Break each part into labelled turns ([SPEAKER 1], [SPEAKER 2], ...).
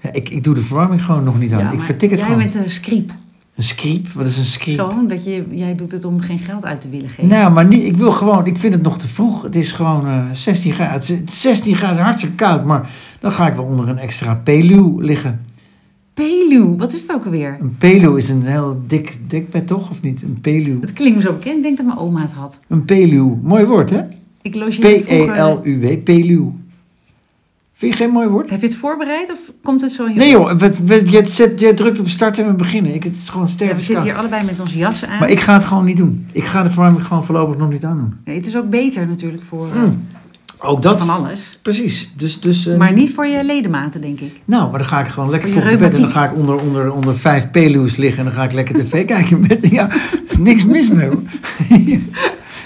[SPEAKER 1] Ja, ik, ik doe de verwarming gewoon nog niet aan. ik
[SPEAKER 2] maar
[SPEAKER 1] vertik het
[SPEAKER 2] jij
[SPEAKER 1] gewoon.
[SPEAKER 2] bent een scriep.
[SPEAKER 1] Een scriep? Wat is een scriep?
[SPEAKER 2] Gewoon dat je, jij doet het om geen geld uit te willen geven.
[SPEAKER 1] Nou, maar niet, ik wil gewoon, ik vind het nog te vroeg. Het is gewoon eh, 16 graden. Het is 16 graden, hartstikke koud. Maar dan ga ik wel onder een extra peluw liggen.
[SPEAKER 2] Peluw, wat is het ook alweer?
[SPEAKER 1] Een peluw is een heel dik dekbed, toch? Of niet? Een peluw.
[SPEAKER 2] Het klinkt me zo bekend. Ik denk dat mijn oma het had.
[SPEAKER 1] Een peluw. Mooi woord, hè?
[SPEAKER 2] Ik logeerde
[SPEAKER 1] E
[SPEAKER 2] vroeger...
[SPEAKER 1] P-E-L-U-W. Peluw. Vind je geen mooi woord?
[SPEAKER 2] Heb je het voorbereid of komt het zo in je
[SPEAKER 1] Nee
[SPEAKER 2] op?
[SPEAKER 1] joh, we- we- je, zet- je drukt op start en we beginnen. Ik, het is gewoon
[SPEAKER 2] Ja, we zitten
[SPEAKER 1] stervenskoud.
[SPEAKER 2] hier allebei met onze jassen aan.
[SPEAKER 1] Maar ik ga het gewoon niet doen. Ik ga de verwarming gewoon voorlopig nog niet aandoen.
[SPEAKER 2] Nee, het is ook beter natuurlijk voor eh,
[SPEAKER 1] Mm, Ook
[SPEAKER 2] van
[SPEAKER 1] dat.
[SPEAKER 2] alles.
[SPEAKER 1] Precies. Dus, dus, eh,
[SPEAKER 2] Maar niet voor je ledematen, denk ik.
[SPEAKER 1] Nou, maar dan ga ik gewoon lekker
[SPEAKER 2] Voor je
[SPEAKER 1] vroeg naar bed en dan ga
[SPEAKER 2] reumatiek.
[SPEAKER 1] ik onder, onder, onder vijf peluws liggen en dan ga ik lekker tv kijken in bed. Ja, er is niks mis mee hoor.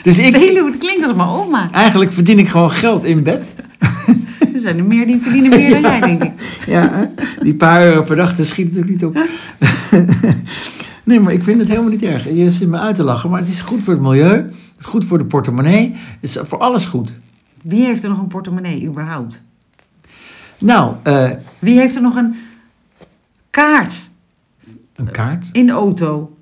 [SPEAKER 1] dus ik,
[SPEAKER 2] Peluw, het klinkt als mijn oma.
[SPEAKER 1] eigenlijk verdien ik gewoon geld in bed.
[SPEAKER 2] Er zijn er meer die verdienen meer dan jij, denk ik.
[SPEAKER 1] Ja, hè? die paar euro per dag, dat schiet natuurlijk niet op. nee, maar ik vind het helemaal niet erg. Je zit me uit te lachen, maar het is goed voor het milieu. Het is goed voor de portemonnee. Het is voor alles goed.
[SPEAKER 2] Wie heeft er nog een portemonnee überhaupt?
[SPEAKER 1] Nou, eh,
[SPEAKER 2] Wie heeft er nog een kaart
[SPEAKER 1] een kaart.
[SPEAKER 2] in de auto?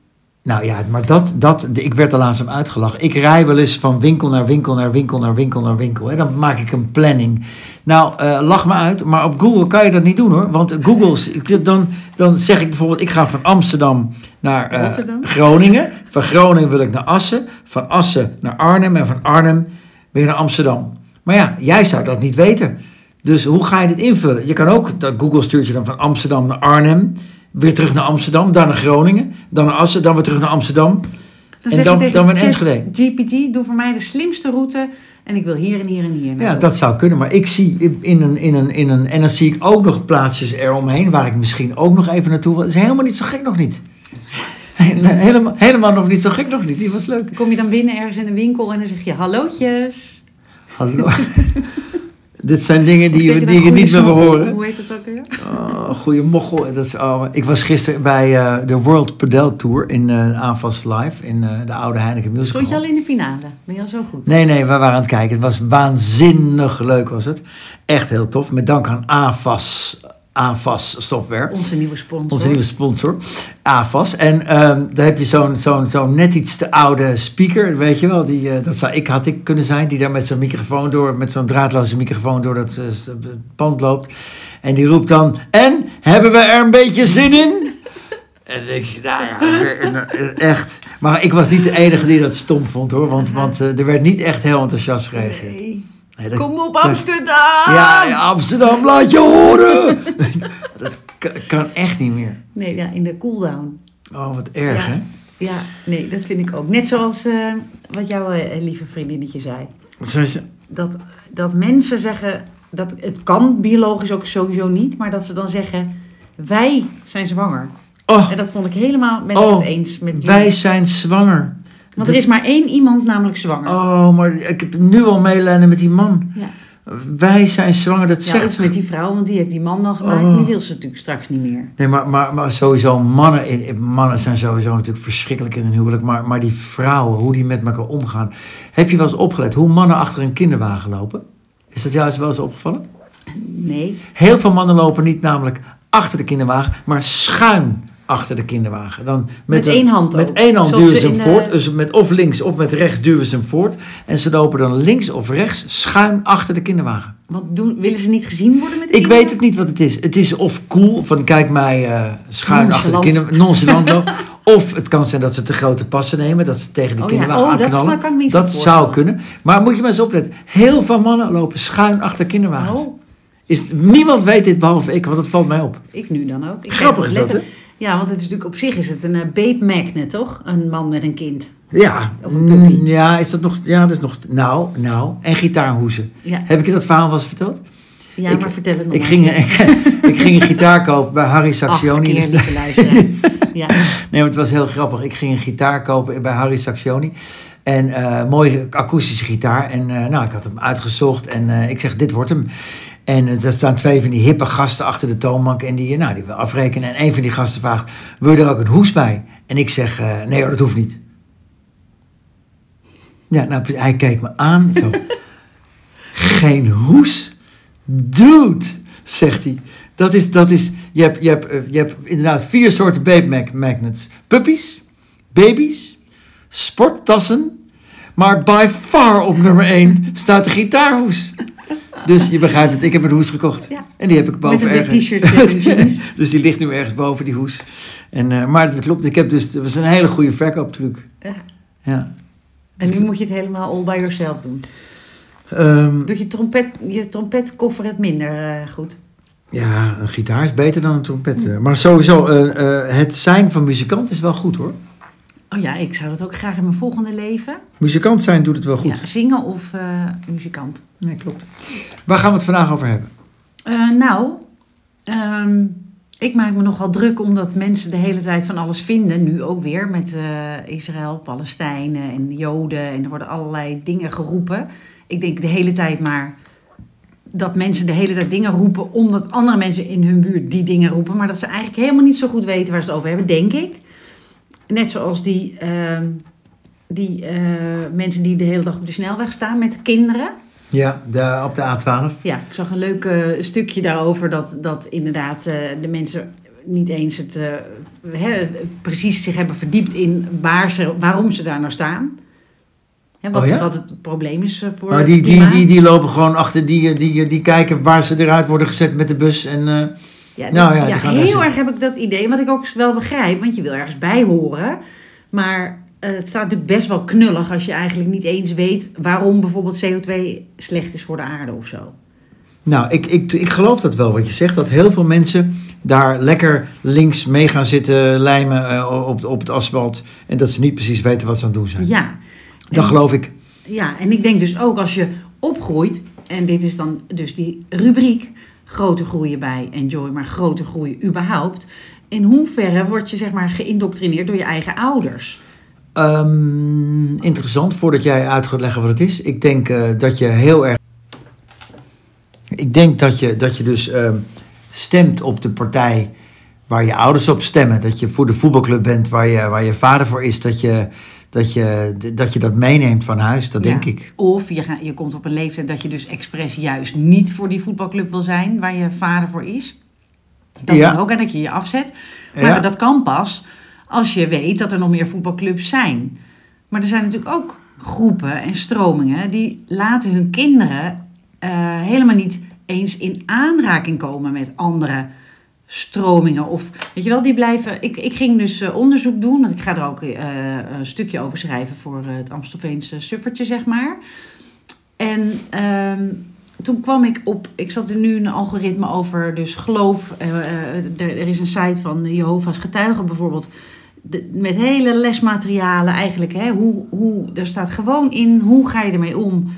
[SPEAKER 1] Nou ja, maar dat, dat, ik werd er laatst om uitgelachen. Ik rij wel eens van winkel naar winkel naar winkel naar winkel naar winkel. Hè. Dan maak ik een planning. Nou, eh, lach me uit, maar op Google kan je dat niet doen hoor. Want Google's, ik- dan, dan zeg ik bijvoorbeeld, ik ga van Amsterdam naar eh,
[SPEAKER 2] Rotterdam.
[SPEAKER 1] Groningen. Van Groningen wil ik naar Assen. Van Assen naar Arnhem. En van Arnhem weer naar Amsterdam. Maar ja, jij zou dat niet weten. Dus hoe ga je dit invullen? Je kan ook, dat Google stuurt je dan van Amsterdam naar Arnhem. Weer terug naar Amsterdam, dan naar Groningen, dan naar Assen, dan weer terug naar Amsterdam. En
[SPEAKER 2] zeg
[SPEAKER 1] dan-
[SPEAKER 2] je tegen
[SPEAKER 1] dan weer in
[SPEAKER 2] Chat
[SPEAKER 1] Enschede.
[SPEAKER 2] GPT, doe voor mij de slimste route en ik wil hier en hier Nou, en hier.
[SPEAKER 1] Ja,
[SPEAKER 2] naartoe.
[SPEAKER 1] dat zou kunnen, maar ik zie in een, in een, in een, en dan zie ik ook nog plaatsjes eromheen waar ik misschien ook nog even naartoe wil. Dat is helemaal niet zo gek nog niet. Helemaal, helemaal nog niet zo gek nog niet, die was leuk.
[SPEAKER 2] Dan kom je dan binnen ergens in een winkel en dan zeg je hallootjes.
[SPEAKER 1] Hallo. Dit zijn dingen die,
[SPEAKER 2] Of zeg
[SPEAKER 1] je-
[SPEAKER 2] dan
[SPEAKER 1] die je
[SPEAKER 2] goeie
[SPEAKER 1] niet meer wil
[SPEAKER 2] snoepel?
[SPEAKER 1] horen.
[SPEAKER 2] Hoe heet dat ook weer?
[SPEAKER 1] Oh, goeie mochel. Dat is, oh, ik was gisteren bij eh, de World Padel Tour in eh AFAS Live in eh, de oude Heineken Music
[SPEAKER 2] Stond je
[SPEAKER 1] Hall.
[SPEAKER 2] al in de finale? Ben je al zo goed?
[SPEAKER 1] Nee, nee, we waren aan het kijken. Het was waanzinnig leuk was het. Echt heel tof. Met dank aan AFAS, AFAS Software.
[SPEAKER 2] Onze nieuwe sponsor.
[SPEAKER 1] Onze nieuwe sponsor, AFAS. En ehm, daar heb je zo'n zo'n zo'n net iets te oude speaker, weet je wel. Die, eh, dat zou ik, had ik kunnen zijn, die daar met zo'n microfoon door, met zo'n draadloze microfoon door dat eh, s- eh, pand loopt. En die roept dan, en, hebben we er een beetje zin in? En ik, nou ja, weer een- eh, echt. Maar ik was niet de enige die dat stom vond hoor, want, want eh, er werd niet echt heel enthousiast gereageerd.
[SPEAKER 2] Nee.
[SPEAKER 1] Nee, dat-
[SPEAKER 2] Kom op
[SPEAKER 1] dat-
[SPEAKER 2] Amsterdam!
[SPEAKER 1] ja, ja, Amsterdam, laat je horen! dat kan, kan echt niet meer.
[SPEAKER 2] Nee, ja, in de cooldown.
[SPEAKER 1] Oh, wat erg,
[SPEAKER 2] ja.
[SPEAKER 1] hè?
[SPEAKER 2] Ja, nee, dat vind ik ook. Net zoals eh, wat jouw eh, lieve vriendinnetje zei. Dat, dat mensen zeggen, dat het kan biologisch ook sowieso niet, maar dat ze dan zeggen, wij zijn zwanger.
[SPEAKER 1] Oh,
[SPEAKER 2] En dat vond ik helemaal met
[SPEAKER 1] Oh,
[SPEAKER 2] het eens. Met jullie.
[SPEAKER 1] wij zijn zwanger.
[SPEAKER 2] Want
[SPEAKER 1] Dat-
[SPEAKER 2] er is maar één iemand namelijk zwanger.
[SPEAKER 1] Oh, maar ik heb nu al medelijden met die man.
[SPEAKER 2] Ja.
[SPEAKER 1] Wij zijn zwanger, dat
[SPEAKER 2] Ja,
[SPEAKER 1] zegt...
[SPEAKER 2] iets met die vrouw, want die heeft die man dan gemaakt.
[SPEAKER 1] Oh.
[SPEAKER 2] Die wil ze natuurlijk straks niet meer.
[SPEAKER 1] Nee, maar, maar, maar sowieso mannen, in- in- mannen zijn sowieso natuurlijk verschrikkelijk in een huwelijk. Maar, maar die vrouwen, hoe die met elkaar omgaan. Heb je wel eens opgelet hoe mannen achter een kinderwagen lopen? Is dat juist wel eens opgevallen?
[SPEAKER 2] Nee.
[SPEAKER 1] Heel veel mannen lopen niet namelijk achter de kinderwagen, maar schuin achter de kinderwagen. Dan
[SPEAKER 2] Met
[SPEAKER 1] een-
[SPEAKER 2] één hand
[SPEAKER 1] Met
[SPEAKER 2] ook.
[SPEAKER 1] één hand
[SPEAKER 2] Zoals
[SPEAKER 1] duwen ze
[SPEAKER 2] ze
[SPEAKER 1] hem
[SPEAKER 2] in,
[SPEAKER 1] voort.
[SPEAKER 2] eh,
[SPEAKER 1] Dus met of links of met rechts duwen ze hem voort. En ze lopen dan links of rechts schuin achter de kinderwagen.
[SPEAKER 2] Want doen, willen ze niet gezien worden met de
[SPEAKER 1] Ik weet het niet wat het is. Het is of cool, van kijk mij eh, schuin achter de
[SPEAKER 2] Nonchalant.
[SPEAKER 1] kinderwagen, nonchalant lopen. Of het kan zijn dat ze te grote passen nemen, dat ze tegen de
[SPEAKER 2] Oh ja,
[SPEAKER 1] kinderwagen
[SPEAKER 2] oh, dat
[SPEAKER 1] aanknallen.
[SPEAKER 2] snap- kan ik me niet
[SPEAKER 1] dat
[SPEAKER 2] voorstellen.
[SPEAKER 1] zou kunnen. Maar moet je maar eens opletten. Heel veel mannen lopen schuin achter kinderwagens.
[SPEAKER 2] Oh,
[SPEAKER 1] Is, niemand weet dit behalve ik, want het valt mij op.
[SPEAKER 2] ik nu dan ook. Ik
[SPEAKER 1] Grappig is
[SPEAKER 2] krijg
[SPEAKER 1] dat, hè?
[SPEAKER 2] letter- Ja, want het is natuurlijk op zich is het een eh, babe magnet, toch? Een man met een kind.
[SPEAKER 1] Ja,
[SPEAKER 2] Of een puppy.
[SPEAKER 1] mm, ja, is dat nog, ja, dat is nog, nou, nou, en gitaarhoezen.
[SPEAKER 2] Ja,
[SPEAKER 1] Heb ik je dat verhaal wel eens verteld?
[SPEAKER 2] ja
[SPEAKER 1] ik-
[SPEAKER 2] maar vertel het nog
[SPEAKER 1] Ik
[SPEAKER 2] maar.
[SPEAKER 1] ging, ik, ging een gitaar kopen bij Harry
[SPEAKER 2] Acht
[SPEAKER 1] Saxioni. dus- in de
[SPEAKER 2] keer
[SPEAKER 1] stad.
[SPEAKER 2] niet te luisteren. ja.
[SPEAKER 1] Nee, want het was heel grappig. Ik ging een gitaar kopen bij Harry Saxioni. En eh, mooie akoestische gitaar. En eh, nou, ik had hem uitgezocht en eh, ik zeg, dit wordt hem. En eh, er staan twee van die hippe gasten achter de toonbank en die, eh, nou, die wil afrekenen. En een van die gasten vraagt, wil je er ook een hoes bij? En ik zeg, eh, nee hoor, dat hoeft niet. Ja, nou, hij keek me aan. Zo. Geen hoes? Dude, zegt hij. Dat is, dat is, je, hebt, je, hebt, eh, je hebt inderdaad vier soorten babe mag- magnets. Puppies, baby's, sporttassen. Maar by far op nummer één staat de gitaarhoes. Dus je begrijpt het, ik heb een hoes gekocht.
[SPEAKER 2] Ja.
[SPEAKER 1] En die heb ik boven
[SPEAKER 2] Met een wit
[SPEAKER 1] ergens.
[SPEAKER 2] t-shirt en jeans.
[SPEAKER 1] dus die ligt nu ergens boven, die hoes. En, eh, maar dat klopt, ik heb dus, dat was een hele goede verkooptruc.
[SPEAKER 2] Ja.
[SPEAKER 1] Ja.
[SPEAKER 2] En nu moet je het helemaal all by yourself doen.
[SPEAKER 1] Ehm,
[SPEAKER 2] Doet je, trompet, je trompetkoffer het minder eh, goed?
[SPEAKER 1] Ja, een gitaar is beter dan een trompet. eh. Maar sowieso, eh, eh, het zijn van muzikant is wel goed hoor.
[SPEAKER 2] Oh ja, ik zou dat ook graag in mijn volgende leven.
[SPEAKER 1] Muzikant zijn doet het wel goed.
[SPEAKER 2] Ja, zingen of eh, muzikant.
[SPEAKER 1] Nee, klopt. Waar gaan we het vandaag over hebben?
[SPEAKER 2] Eh, nou, ehm, ik maak me nogal druk omdat mensen de hele tijd van alles vinden. Nu ook weer met eh, Israël, Palestijnen en Joden. En er worden allerlei dingen geroepen. Ik denk de hele tijd maar dat mensen de hele tijd dingen roepen omdat andere mensen in hun buurt die dingen roepen. Maar dat ze eigenlijk helemaal niet zo goed weten waar ze het over hebben, denk ik. Net zoals die, ehm, die eh, mensen die de hele dag op de snelweg staan met kinderen.
[SPEAKER 1] Ja, de, op de A12.
[SPEAKER 2] Ja, ik zag een leuk eh, stukje daarover dat, dat inderdaad eh, de mensen niet eens het, eh, hè, precies zich hebben verdiept in waar ze, waarom ze daar nou staan. Hè, wat,
[SPEAKER 1] Oh ja?
[SPEAKER 2] wat het probleem is eh, voor
[SPEAKER 1] Maar
[SPEAKER 2] het
[SPEAKER 1] die, die,
[SPEAKER 2] klimaat.
[SPEAKER 1] die, die lopen gewoon achter, die, eh, die, die kijken waar ze eruit worden gezet met de bus. En, eh,
[SPEAKER 2] Ja,
[SPEAKER 1] Nou
[SPEAKER 2] dat-
[SPEAKER 1] ja, die
[SPEAKER 2] ja,
[SPEAKER 1] gaan daar
[SPEAKER 2] heel
[SPEAKER 1] zitten.
[SPEAKER 2] erg heb ik dat idee, wat ik ook wel begrijp, want je wil ergens bij horen. Maar eh, het staat natuurlijk best wel knullig als je eigenlijk niet eens weet waarom bijvoorbeeld CO2 slecht is voor de aarde of zo.
[SPEAKER 1] Nou, ik, ik, ik geloof dat wel wat je zegt. Dat heel veel mensen daar lekker links mee gaan zitten lijmen eh, op, op het asfalt. En dat ze niet precies weten wat ze aan het doen zijn.
[SPEAKER 2] Ja.
[SPEAKER 1] Dat
[SPEAKER 2] En-
[SPEAKER 1] geloof ik.
[SPEAKER 2] Ja, en ik denk dus ook als je opgroeit, en dit is dan dus die rubriek, grote groeien bij Enjoy, maar grote groei überhaupt. In hoeverre word je zeg maar geïndoctrineerd door je eigen ouders?
[SPEAKER 1] Ehm, interessant, voordat jij uit gaat leggen wat het is. Ik denk eh, dat je heel erg. Ik denk dat je, dat je dus ehm, stemt op de partij waar je ouders op stemmen. Dat je voor de voetbalclub bent waar je, waar je vader voor is. Dat je dat, je, dat je dat meeneemt van huis, dat denk
[SPEAKER 2] Ja.
[SPEAKER 1] ik.
[SPEAKER 2] Of je, ga- je komt op een leeftijd dat je dus expres juist niet voor die voetbalclub wil zijn waar je vader voor is. Dat
[SPEAKER 1] Ja.
[SPEAKER 2] kan ook en dat je je afzet. Maar
[SPEAKER 1] Ja.
[SPEAKER 2] dat kan pas als je weet dat er nog meer voetbalclubs zijn. Maar er zijn natuurlijk ook groepen en stromingen die laten hun kinderen eh, helemaal niet eens in aanraking komen met andere stromingen. Of weet je wel, die blijven. Ik, ik ging dus eh, onderzoek doen, want ik ga er ook eh, een stukje over schrijven voor eh, het Amstelveense suffertje, zeg maar. En ehm, toen kwam ik op, ik zat er nu een algoritme over, dus geloof. eh, eh, er, er is een site van Jehovah's Getuigen bijvoorbeeld. de- met hele lesmaterialen eigenlijk. Hè, hoe, hoe, er staat gewoon in, hoe ga je ermee om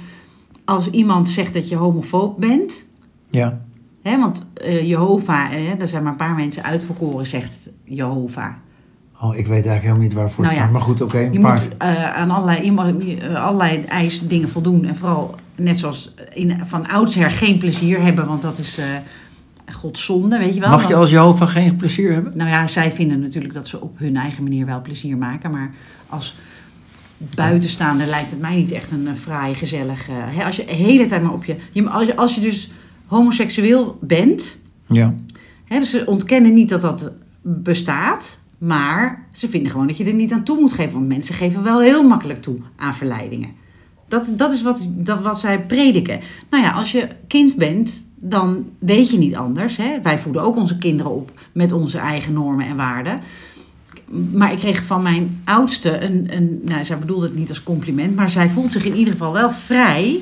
[SPEAKER 2] als iemand zegt dat je homofoob bent?
[SPEAKER 1] Ja.
[SPEAKER 2] Hè, want eh Jehovah, hè, er zijn maar een paar mensen uitverkoren, zegt Jehovah.
[SPEAKER 1] Oh, ik weet eigenlijk helemaal niet waarvoor het
[SPEAKER 2] Nou ja.
[SPEAKER 1] gaat. Maar goed, oké.
[SPEAKER 2] Je
[SPEAKER 1] een paar-
[SPEAKER 2] moet eh, aan allerlei, je mag, eh, allerlei eisen dingen voldoen. En vooral, net zoals in, van oudsher, geen plezier hebben. Want dat is eh Gods zonde, weet je wel.
[SPEAKER 1] Mag je
[SPEAKER 2] Want-
[SPEAKER 1] als Jehovah geen plezier hebben?
[SPEAKER 2] Nou ja, zij vinden natuurlijk dat ze op hun eigen manier wel plezier maken. Maar als buitenstaander lijkt het mij niet echt een eh, fraai, gezellig... eh, hè, als je de hele tijd maar op je... je als, je als je dus homoseksueel bent...
[SPEAKER 1] Ja.
[SPEAKER 2] Hè, dus ze ontkennen niet dat dat bestaat, maar ze vinden gewoon dat je er niet aan toe moet geven. Want mensen geven wel heel makkelijk toe aan verleidingen. Dat, dat is wat, dat, wat zij prediken. Nou ja, als je kind bent, dan weet je niet anders. Hè? Wij voeden ook onze kinderen op met onze eigen normen en waarden. Maar ik kreeg van mijn oudste een, een. Nou, zij bedoelde het niet als compliment, maar zij voelt zich in ieder geval wel vrij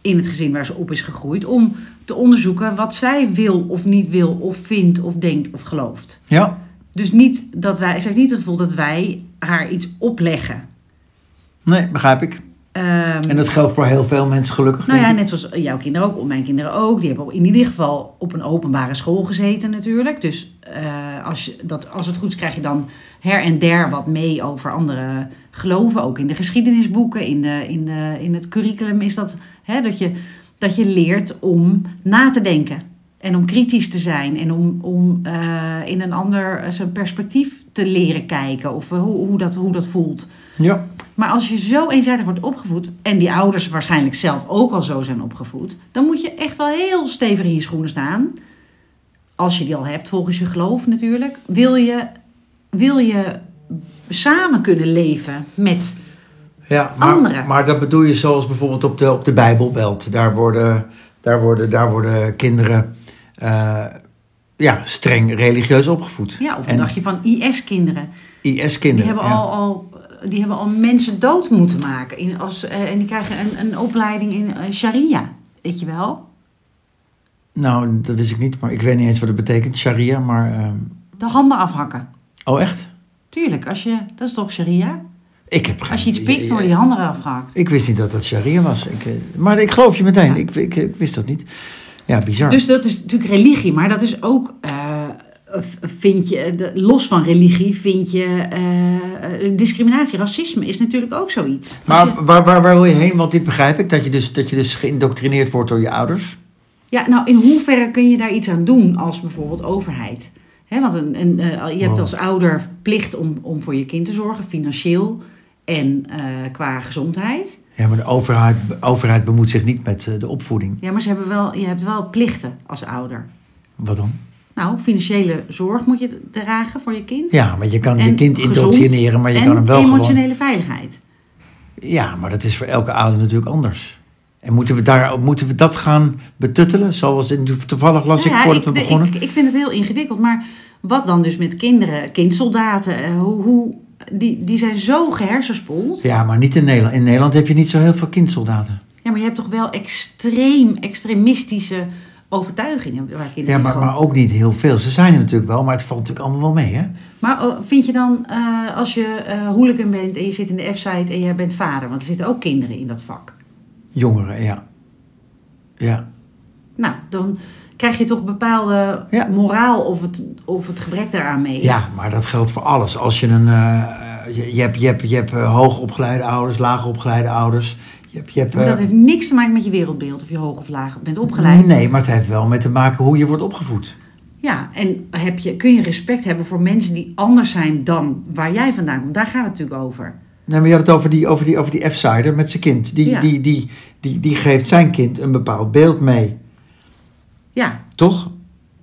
[SPEAKER 2] in het gezin waar ze op is gegroeid. om te onderzoeken wat zij wil of niet wil, of vindt of denkt of gelooft.
[SPEAKER 1] Ja.
[SPEAKER 2] Dus niet dat wij. Zij heeft niet het gevoel dat wij haar iets opleggen.
[SPEAKER 1] Nee, begrijp ik.
[SPEAKER 2] Ehm,
[SPEAKER 1] En dat geldt voor heel veel mensen, gelukkig.
[SPEAKER 2] nou
[SPEAKER 1] denk
[SPEAKER 2] ja,
[SPEAKER 1] ik.
[SPEAKER 2] net zoals jouw kinderen ook, mijn kinderen ook. Die hebben in ieder geval op een openbare school gezeten natuurlijk. Dus eh, als, je, dat, als het goed is, krijg je dan her en der wat mee over andere geloven. Ook in de geschiedenisboeken, in, de, in, de, in het curriculum is dat, hè, dat, je, dat je leert om na te denken. En om kritisch te zijn en om, om eh, in een ander eh, zijn perspectief te leren kijken. Of eh, hoe, hoe, dat, hoe dat voelt.
[SPEAKER 1] Ja.
[SPEAKER 2] Maar als je zo eenzijdig wordt opgevoed, en die ouders waarschijnlijk zelf ook al zo zijn opgevoed, dan moet je echt wel heel stevig in je schoenen staan als je die al hebt volgens je geloof natuurlijk, wil je, wil je samen kunnen leven met
[SPEAKER 1] Ja, maar,
[SPEAKER 2] Anderen.
[SPEAKER 1] maar dat bedoel je zoals bijvoorbeeld op de, op de Bijbelbelt. Daar worden, daar worden, daar worden kinderen eh, ja, streng religieus opgevoed.
[SPEAKER 2] Ja, of
[SPEAKER 1] en
[SPEAKER 2] een dagje van IS-kinderen. Die
[SPEAKER 1] IS-kinderen.
[SPEAKER 2] hebben,
[SPEAKER 1] ja.
[SPEAKER 2] al, al, die hebben al mensen dood moeten maken. In, als, eh, en die krijgen een, een opleiding in eh, sharia. Weet je wel?
[SPEAKER 1] Nou, dat wist ik niet, maar ik weet niet eens wat het betekent, sharia. Maar, ehm,
[SPEAKER 2] De handen afhakken.
[SPEAKER 1] oh echt?
[SPEAKER 2] Tuurlijk, als je, dat is toch sharia?
[SPEAKER 1] Ik heb geen
[SPEAKER 2] Als je iets pikt,
[SPEAKER 1] idee.
[SPEAKER 2] worden je handen afgehakt.
[SPEAKER 1] Ik wist niet dat dat sharia was. Ik, eh, maar ik geloof je meteen.
[SPEAKER 2] Ja.
[SPEAKER 1] Ik, ik, ik wist dat niet. Ja, bizar.
[SPEAKER 2] Dus dat is natuurlijk religie, maar dat is ook. eh, v- vind je, de- los van religie vind je eh, eh, discriminatie. Racisme is natuurlijk ook zoiets. Als je-
[SPEAKER 1] maar waar, waar, waar wil je heen? Want dit begrijp ik. Dat je dus, dat je dus geïndoctrineerd wordt door je ouders.
[SPEAKER 2] Ja, nou, in hoeverre kun je daar iets aan doen als bijvoorbeeld overheid? Hè, want een, een, eh, je hebt
[SPEAKER 1] Wow.
[SPEAKER 2] als ouder plicht om, om voor je kind te zorgen, financieel en eh, qua gezondheid.
[SPEAKER 1] Ja, maar de overheid, overheid bemoeit zich niet met eh, de opvoeding.
[SPEAKER 2] Ja, maar ze hebben wel, je hebt wel plichten als ouder.
[SPEAKER 1] Wat dan?
[SPEAKER 2] Nou, financiële zorg moet je dragen voor je kind.
[SPEAKER 1] Ja, want je kan je
[SPEAKER 2] En
[SPEAKER 1] kind
[SPEAKER 2] gezond
[SPEAKER 1] indoctrineren, maar je
[SPEAKER 2] en
[SPEAKER 1] kan hem wel
[SPEAKER 2] emotionele
[SPEAKER 1] gewoon...
[SPEAKER 2] veiligheid.
[SPEAKER 1] Ja, maar dat is voor elke ouder natuurlijk anders. En moeten we, daar, moeten we dat gaan betuttelen? Zoals in, toevallig las
[SPEAKER 2] Nou
[SPEAKER 1] ik
[SPEAKER 2] ja,
[SPEAKER 1] voordat we
[SPEAKER 2] de-
[SPEAKER 1] begonnen.
[SPEAKER 2] Ik, ik vind het heel ingewikkeld. Maar wat dan dus met kinderen, kindsoldaten, eh, hoe, hoe, die, die zijn zo gehersenspoeld.
[SPEAKER 1] Ja, maar niet in Nederland. In Nederland heb je niet zo heel veel kindsoldaten.
[SPEAKER 2] Ja, maar je hebt toch wel extreem extremistische overtuigingen waar
[SPEAKER 1] Ja,
[SPEAKER 2] kinderen
[SPEAKER 1] maar,
[SPEAKER 2] in geloven.
[SPEAKER 1] maar ook niet heel veel. Ze zijn er natuurlijk wel, maar het valt natuurlijk allemaal wel mee, hè?
[SPEAKER 2] Maar oh, vind je dan, eh, als je eh hooligan bent en je zit in de F-site en je bent vader, want er zitten ook kinderen in dat vak.
[SPEAKER 1] Jongeren, ja. Ja,
[SPEAKER 2] Nou, dan krijg je toch bepaalde
[SPEAKER 1] Ja.
[SPEAKER 2] moraal of het, of het gebrek daaraan mee.
[SPEAKER 1] ja maar dat geldt voor alles. Als je een... eh, je, je hebt, je hebt, je hebt eh, hoogopgeleide ouders, laagopgeleide ouders. Je hebt... Je hebt
[SPEAKER 2] Maar
[SPEAKER 1] eh,
[SPEAKER 2] dat heeft niks te maken met je wereldbeeld of je hoog of laag bent opgeleid.
[SPEAKER 1] Nee, maar het heeft wel met te maken hoe je wordt opgevoed.
[SPEAKER 2] Ja, en heb je, kun je respect hebben voor mensen die anders zijn dan waar jij vandaan komt? Daar gaat het natuurlijk over.
[SPEAKER 1] Nee, maar je had het over die, over die, over die F-sider met zijn kind. Die,
[SPEAKER 2] Ja.
[SPEAKER 1] die, die, die, die geeft zijn kind een bepaald beeld mee,
[SPEAKER 2] Ja,
[SPEAKER 1] toch?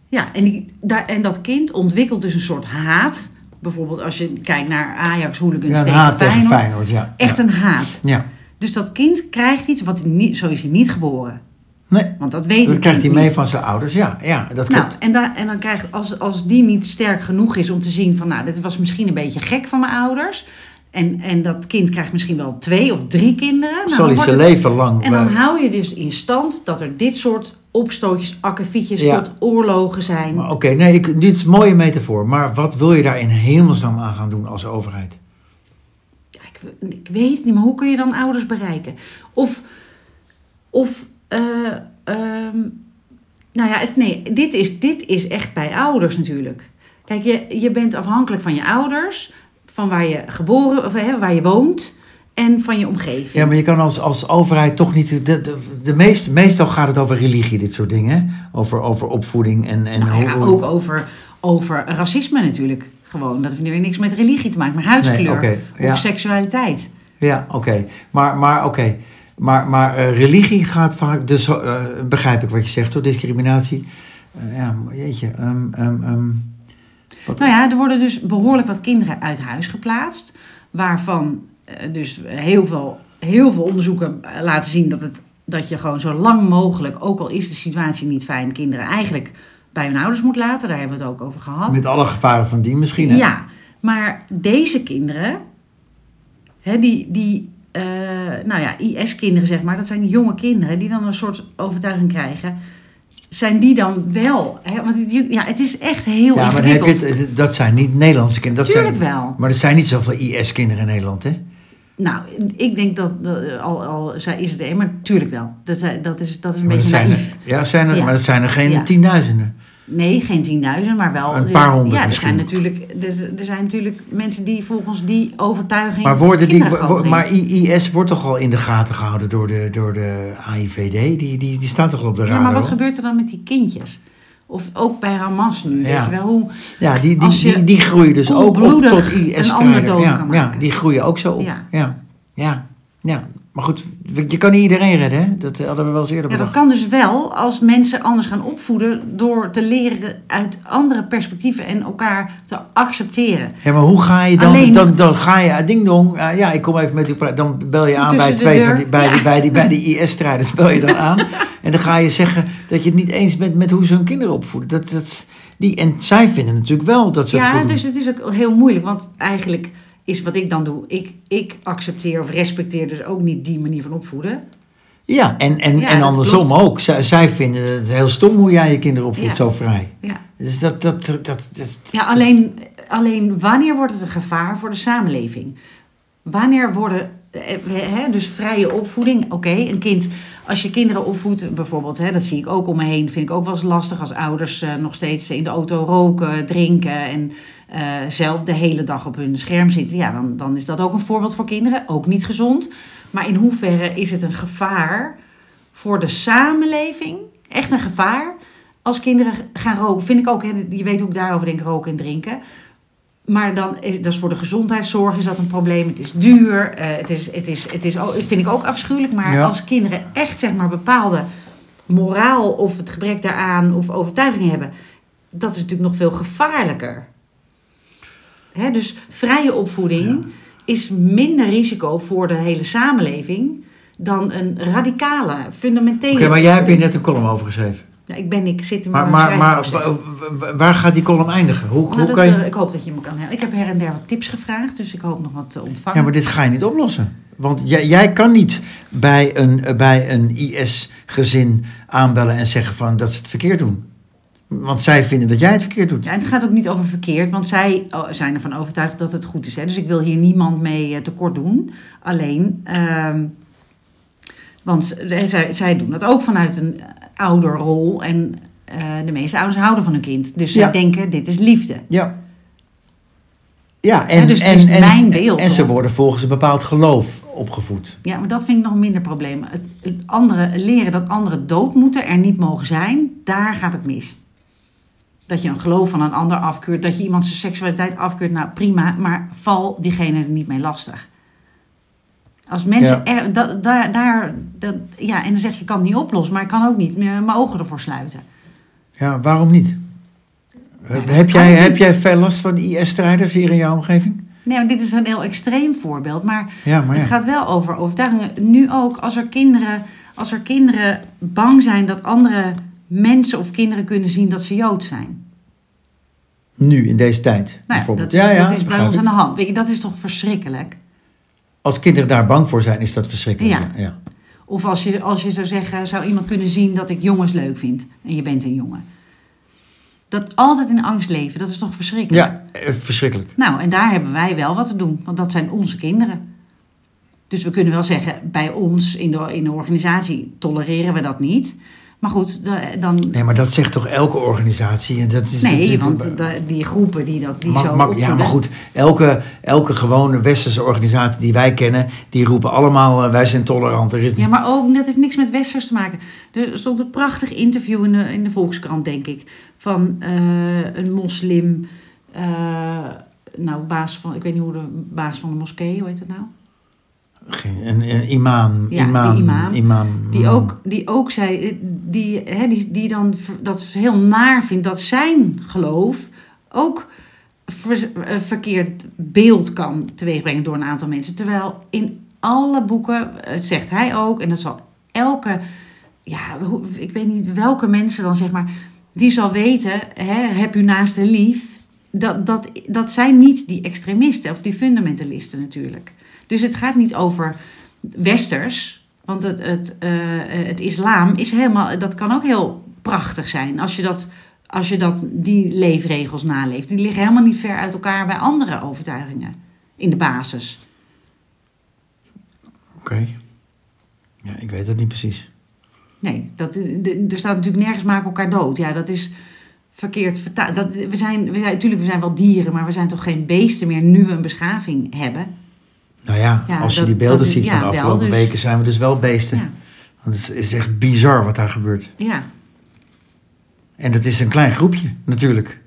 [SPEAKER 2] Ja, en, die, daar, en dat kind ontwikkelt dus een soort haat. Bijvoorbeeld als je kijkt naar Ajax hooligans
[SPEAKER 1] Ja, een
[SPEAKER 2] tegen,
[SPEAKER 1] haat
[SPEAKER 2] Feyenoord.
[SPEAKER 1] tegen Feyenoord, ja.
[SPEAKER 2] Echt
[SPEAKER 1] Ja.
[SPEAKER 2] een haat.
[SPEAKER 1] Ja.
[SPEAKER 2] Dus dat kind krijgt iets wat hij niet, zo is hij niet geboren.
[SPEAKER 1] Nee,
[SPEAKER 2] Want dat weet
[SPEAKER 1] dat
[SPEAKER 2] het
[SPEAKER 1] krijgt hij
[SPEAKER 2] kind
[SPEAKER 1] mee
[SPEAKER 2] niet.
[SPEAKER 1] van zijn ouders. Ja, ja dat klopt.
[SPEAKER 2] Nou, en, daar en dan krijgt, als, als die niet sterk genoeg is om te zien van, nou, dit was misschien een beetje gek van mijn ouders. En, en dat kind krijgt misschien wel twee of drie kinderen. Nou,
[SPEAKER 1] Zal
[SPEAKER 2] dan
[SPEAKER 1] hij
[SPEAKER 2] wordt
[SPEAKER 1] zijn
[SPEAKER 2] het-
[SPEAKER 1] leven lang...
[SPEAKER 2] En dan
[SPEAKER 1] eh,
[SPEAKER 2] hou je dus in stand dat er dit soort opstootjes, akkefietjes
[SPEAKER 1] Ja.
[SPEAKER 2] tot oorlogen zijn.
[SPEAKER 1] Maar Oké, nee, ik, dit is een mooie metafoor. Maar wat wil je daar in hemelsnaam aan gaan doen als overheid?
[SPEAKER 2] Ja, ik, ik weet het niet, maar hoe kun je dan ouders bereiken? Of, of eh, ehm, nou ja, het, nee, dit is, dit is echt bij ouders natuurlijk. Kijk, je, je bent afhankelijk van je ouders, van waar je geboren, of hè, waar je woont en van je omgeving.
[SPEAKER 1] Ja, maar je kan als, als overheid toch niet... De, de, de meest, meestal gaat het over religie, dit soort dingen. hè? Over, over opvoeding en... en
[SPEAKER 2] Nou ja,
[SPEAKER 1] hoe-
[SPEAKER 2] ook over, over racisme natuurlijk. Gewoon, dat heeft weer niks met religie te maken, maar huidskleur
[SPEAKER 1] Nee, oké, ja.
[SPEAKER 2] of seksualiteit.
[SPEAKER 1] Ja, oké. Maar, maar, oké. maar, maar eh, religie gaat vaak... Dus eh, begrijp ik wat je zegt, door discriminatie. Eh, ja, jeetje. ehm, ehm, ehm.
[SPEAKER 2] Nou ja, er worden dus behoorlijk wat kinderen uit huis geplaatst. Waarvan eh, dus heel veel, heel veel onderzoeken eh, laten zien dat, het, dat je gewoon zo lang mogelijk, ook al is de situatie niet fijn, kinderen eigenlijk bij hun ouders moet laten. Daar hebben we het ook over gehad.
[SPEAKER 1] met alle gevaren van die misschien, hè?
[SPEAKER 2] Ja, maar deze kinderen, hè, die, die eh, nou ja, IS-kinderen zeg maar, dat zijn jonge kinderen die dan een soort overtuiging krijgen. Zijn die dan wel? Hè? Want het, ja, het is echt heel
[SPEAKER 1] Ja, maar dan heb
[SPEAKER 2] ingewikkeld.
[SPEAKER 1] je het- dat zijn niet Nederlandse kinderen. Dat
[SPEAKER 2] Tuurlijk
[SPEAKER 1] zijn,
[SPEAKER 2] wel.
[SPEAKER 1] Maar er zijn niet zoveel IS-kinderen in Nederland, hè?
[SPEAKER 2] Nou, ik denk dat, dat- al, al zij is het een, maar natuurlijk wel. Dat, zij- dat is, dat is een
[SPEAKER 1] Maar dat
[SPEAKER 2] beetje
[SPEAKER 1] zijn er,
[SPEAKER 2] naïef.
[SPEAKER 1] ja, zijn er,
[SPEAKER 2] Ja.
[SPEAKER 1] maar dat zijn er geen
[SPEAKER 2] Ja.
[SPEAKER 1] tienduizenden.
[SPEAKER 2] Nee, geen tienduizend, maar wel...
[SPEAKER 1] Een paar honderd
[SPEAKER 2] Ja, er
[SPEAKER 1] misschien.
[SPEAKER 2] zijn, natuurlijk, er, er zijn natuurlijk mensen die volgens die overtuiging...
[SPEAKER 1] Maar, worden die,
[SPEAKER 2] kinderen
[SPEAKER 1] wo-
[SPEAKER 2] grootbrengen.
[SPEAKER 1] maar I- IS wordt toch al in de gaten gehouden door de, door de AIVD? Die, die, die staat toch al op de radar?
[SPEAKER 2] Ja, maar wat
[SPEAKER 1] hoor?
[SPEAKER 2] gebeurt er dan met die kindjes? Of ook bij Hamas nu, weet
[SPEAKER 1] Ja.
[SPEAKER 2] je wel? Hoe,
[SPEAKER 1] Ja, die, die,
[SPEAKER 2] Als je
[SPEAKER 1] die, die groeien dus ook op
[SPEAKER 2] koelbloedig
[SPEAKER 1] tot
[SPEAKER 2] een ander
[SPEAKER 1] IS-strijder.
[SPEAKER 2] dood
[SPEAKER 1] Ja,
[SPEAKER 2] kan
[SPEAKER 1] ja,
[SPEAKER 2] maken.
[SPEAKER 1] die groeien ook zo op. Ja,
[SPEAKER 2] Ja.
[SPEAKER 1] ja, ja. Maar goed, je kan niet iedereen redden, hè? Dat hadden we wel eens eerder
[SPEAKER 2] Ja, dat
[SPEAKER 1] bedacht.
[SPEAKER 2] kan dus wel als mensen anders gaan opvoeden door te leren uit andere perspectieven en elkaar te accepteren.
[SPEAKER 1] Ja, maar hoe ga je dan?
[SPEAKER 2] Alleen-
[SPEAKER 1] Dan, dan ga je, ah, ding dong, ah, ja, ik kom even met u praten. Dan bel je aan bij
[SPEAKER 2] Tussen de
[SPEAKER 1] twee van
[SPEAKER 2] deur.
[SPEAKER 1] die, bij, die, bij, die, bij die IS-strijders, bel je dan aan. en dan ga je zeggen dat je het niet eens bent met hoe ze hun kinderen opvoeden. Dat, dat, die, en zij vinden natuurlijk wel dat ze het
[SPEAKER 2] Ja,
[SPEAKER 1] goed doen.
[SPEAKER 2] dus het is ook heel moeilijk, want eigenlijk is wat ik dan doe, ik, ik accepteer of respecteer dus ook niet die manier van opvoeden.
[SPEAKER 1] Ja, en, en,
[SPEAKER 2] Ja,
[SPEAKER 1] en
[SPEAKER 2] dat
[SPEAKER 1] andersom ook. Zij, zij vinden het heel stom hoe jij je kinderen opvoedt,
[SPEAKER 2] Ja.
[SPEAKER 1] zo vrij.
[SPEAKER 2] Ja,
[SPEAKER 1] Dus dat, dat, dat, dat, dat-
[SPEAKER 2] ja alleen, alleen wanneer wordt het een gevaar voor de samenleving? Wanneer worden, eh, we- hè, dus vrije opvoeding, oké, een kind, als je kinderen opvoedt bijvoorbeeld, hè, dat zie ik ook om me heen, vind ik ook wel eens lastig als ouders eh, nog steeds in de auto roken, drinken en eh, zelf de hele dag op hun scherm zitten. Ja, dan, dan is dat ook een voorbeeld voor kinderen, ook niet gezond. Maar in hoeverre is het een gevaar voor de samenleving, echt een gevaar, als kinderen gaan roken? Vind ik ook, hè, je weet hoe ik daarover denk, roken en drinken. Maar dan is, dat is voor de gezondheidszorg is dat een probleem. Het is duur. eh, het, is, het, is, het is, ook- dat vind ik ook afschuwelijk. Maar
[SPEAKER 1] Ja.
[SPEAKER 2] als kinderen echt zeg maar, bepaalde moraal of het gebrek daaraan of overtuiging hebben, dat is natuurlijk nog veel gevaarlijker. Hè, dus vrije opvoeding is minder risico voor de hele samenleving dan een radicale, fundamentele.
[SPEAKER 1] Oké, maar jij hebt hier net een column over geschreven.
[SPEAKER 2] Ja, ik ben, ik zit in
[SPEAKER 1] Maar,
[SPEAKER 2] mijn
[SPEAKER 1] maar, maar
[SPEAKER 2] schrijfproces.
[SPEAKER 1] wa- wa- waar gaat die column eindigen? Hoe,
[SPEAKER 2] Nou,
[SPEAKER 1] hoe
[SPEAKER 2] dat,
[SPEAKER 1] kan je...
[SPEAKER 2] eh, ik hoop dat je me kan helpen. Ik heb her en der wat tips gevraagd, dus ik hoop nog wat te ontvangen.
[SPEAKER 1] Ja, maar dit ga je niet oplossen. Want jij, jij kan niet bij een, eh, bij een IS-gezin aanbellen en zeggen van dat ze het verkeerd doen. Want zij vinden dat jij het verkeerd doet.
[SPEAKER 2] Ja, en het gaat ook niet over verkeerd, want zij oh, zijn ervan overtuigd dat het goed is. Hè? Dus ik wil hier niemand mee eh, tekort doen. Alleen, ehm, want z- eh, zij, zij doen dat ook vanuit een eh, ouderrol. En eh, de meeste ouders houden van hun kind. Dus
[SPEAKER 1] Ja.
[SPEAKER 2] zij denken, dit is liefde.
[SPEAKER 1] Ja. Ja, en,
[SPEAKER 2] Ja, dus het
[SPEAKER 1] en,
[SPEAKER 2] is
[SPEAKER 1] en,
[SPEAKER 2] mijn beeld,
[SPEAKER 1] en ze
[SPEAKER 2] hoor.
[SPEAKER 1] worden volgens een bepaald geloof opgevoed.
[SPEAKER 2] Ja, maar dat vind ik nog een minder probleem. Het, het andere, leren dat anderen dood moeten, er niet mogen zijn, daar gaat het mis. Dat je een geloof van een ander afkeurt, dat je iemand zijn seksualiteit afkeurt, nou prima, maar val diegene er niet mee lastig. Als mensen er, da- daar, daar, dat, ja, en dan zeg je, ik kan het niet oplossen, maar ik kan ook niet meer mijn ogen ervoor sluiten.
[SPEAKER 1] Ja, waarom niet?
[SPEAKER 2] Ja, dat
[SPEAKER 1] heb,
[SPEAKER 2] kan
[SPEAKER 1] jij,
[SPEAKER 2] niet.
[SPEAKER 1] heb jij veel last van IS-strijders hier in jouw omgeving?
[SPEAKER 2] Nee, maar dit is een heel extreem voorbeeld, maar
[SPEAKER 1] Ja, maar ja.
[SPEAKER 2] Het gaat wel over overtuigingen. Nu ook als er kinderen, als er kinderen bang zijn dat andere mensen of kinderen kunnen zien dat ze Jood zijn.
[SPEAKER 1] Nu, in deze tijd,
[SPEAKER 2] Nou ja,
[SPEAKER 1] bijvoorbeeld.
[SPEAKER 2] dat is,
[SPEAKER 1] ja, ja,
[SPEAKER 2] dat is bij
[SPEAKER 1] begrijp
[SPEAKER 2] ons
[SPEAKER 1] ik.
[SPEAKER 2] aan de hand. Weet je, dat is toch verschrikkelijk?
[SPEAKER 1] Als kinderen daar bang voor zijn, is dat verschrikkelijk.
[SPEAKER 2] Ja.
[SPEAKER 1] ja, ja.
[SPEAKER 2] Of als je, als je zou zeggen, zou iemand kunnen zien dat ik jongens leuk vind en je bent een jongen. Dat altijd in angst leven, dat is toch verschrikkelijk?
[SPEAKER 1] Ja, eh, verschrikkelijk.
[SPEAKER 2] Nou, en daar hebben wij wel wat te doen, want dat zijn onze kinderen. Dus we kunnen wel zeggen, bij ons in de, in de organisatie tolereren we dat niet. Maar goed, da- dan,
[SPEAKER 1] Nee, maar dat zegt toch elke organisatie? En dat is, dat
[SPEAKER 2] Nee,
[SPEAKER 1] Dus is-
[SPEAKER 2] want da- die groepen die dat die
[SPEAKER 1] Mak-
[SPEAKER 2] zo
[SPEAKER 1] mak- ja,
[SPEAKER 2] opvoeden-
[SPEAKER 1] maar goed, elke, elke gewone westerse organisatie die wij kennen, die roepen allemaal eh, wij zijn tolerant. Er is niet...
[SPEAKER 2] Ja, maar ook, dat heeft niks met westers te maken. Er stond een prachtig interview in de, in de Volkskrant, denk ik, van eh, een moslim, eh, nou, baas van, ik weet niet hoe de baas van de moskee, hoe heet dat nou?
[SPEAKER 1] Geen- een, een imam,
[SPEAKER 2] Ja,
[SPEAKER 1] imam,
[SPEAKER 2] die imam.
[SPEAKER 1] imam.
[SPEAKER 2] Die ook, die ook zei, eh, die, hè, die, die dan ver- dat heel naar vindt dat zijn geloof ook ver- eh, verkeerd beeld kan teweegbrengen door een aantal mensen. Terwijl in alle boeken, eh, zegt hij ook, en dat zal elke, ja, hoe- ik weet niet welke mensen dan zeg maar, die zal weten, hè, heb u naast de lief. Dat, dat, dat zijn niet die extremisten of die fundamentalisten natuurlijk. Dus het gaat niet over westers. Want het, het, eh, eh, het islam is helemaal, dat kan ook heel prachtig zijn als je, dat, als je dat, die leefregels naleeft. Die liggen helemaal niet ver uit elkaar bij andere overtuigingen in de basis.
[SPEAKER 1] Oké. Ja, ik weet dat niet precies.
[SPEAKER 2] Nee, dat, eh, de- er staat natuurlijk nergens maken elkaar dood. Ja, dat is verkeerd vertaald. Dat, we zijn, we zijn, natuurlijk, we zijn wel dieren, maar we zijn toch geen beesten meer nu we een beschaving hebben.
[SPEAKER 1] Nou ja,
[SPEAKER 2] Ja,
[SPEAKER 1] als je
[SPEAKER 2] dat-
[SPEAKER 1] die beelden
[SPEAKER 2] dat is-
[SPEAKER 1] ziet van
[SPEAKER 2] ja,
[SPEAKER 1] de
[SPEAKER 2] wel,
[SPEAKER 1] afgelopen
[SPEAKER 2] dus-
[SPEAKER 1] weken, zijn we dus wel beesten.
[SPEAKER 2] Ja,
[SPEAKER 1] Want het is echt bizar wat daar gebeurt.
[SPEAKER 2] ja.
[SPEAKER 1] En dat is een klein groepje, natuurlijk.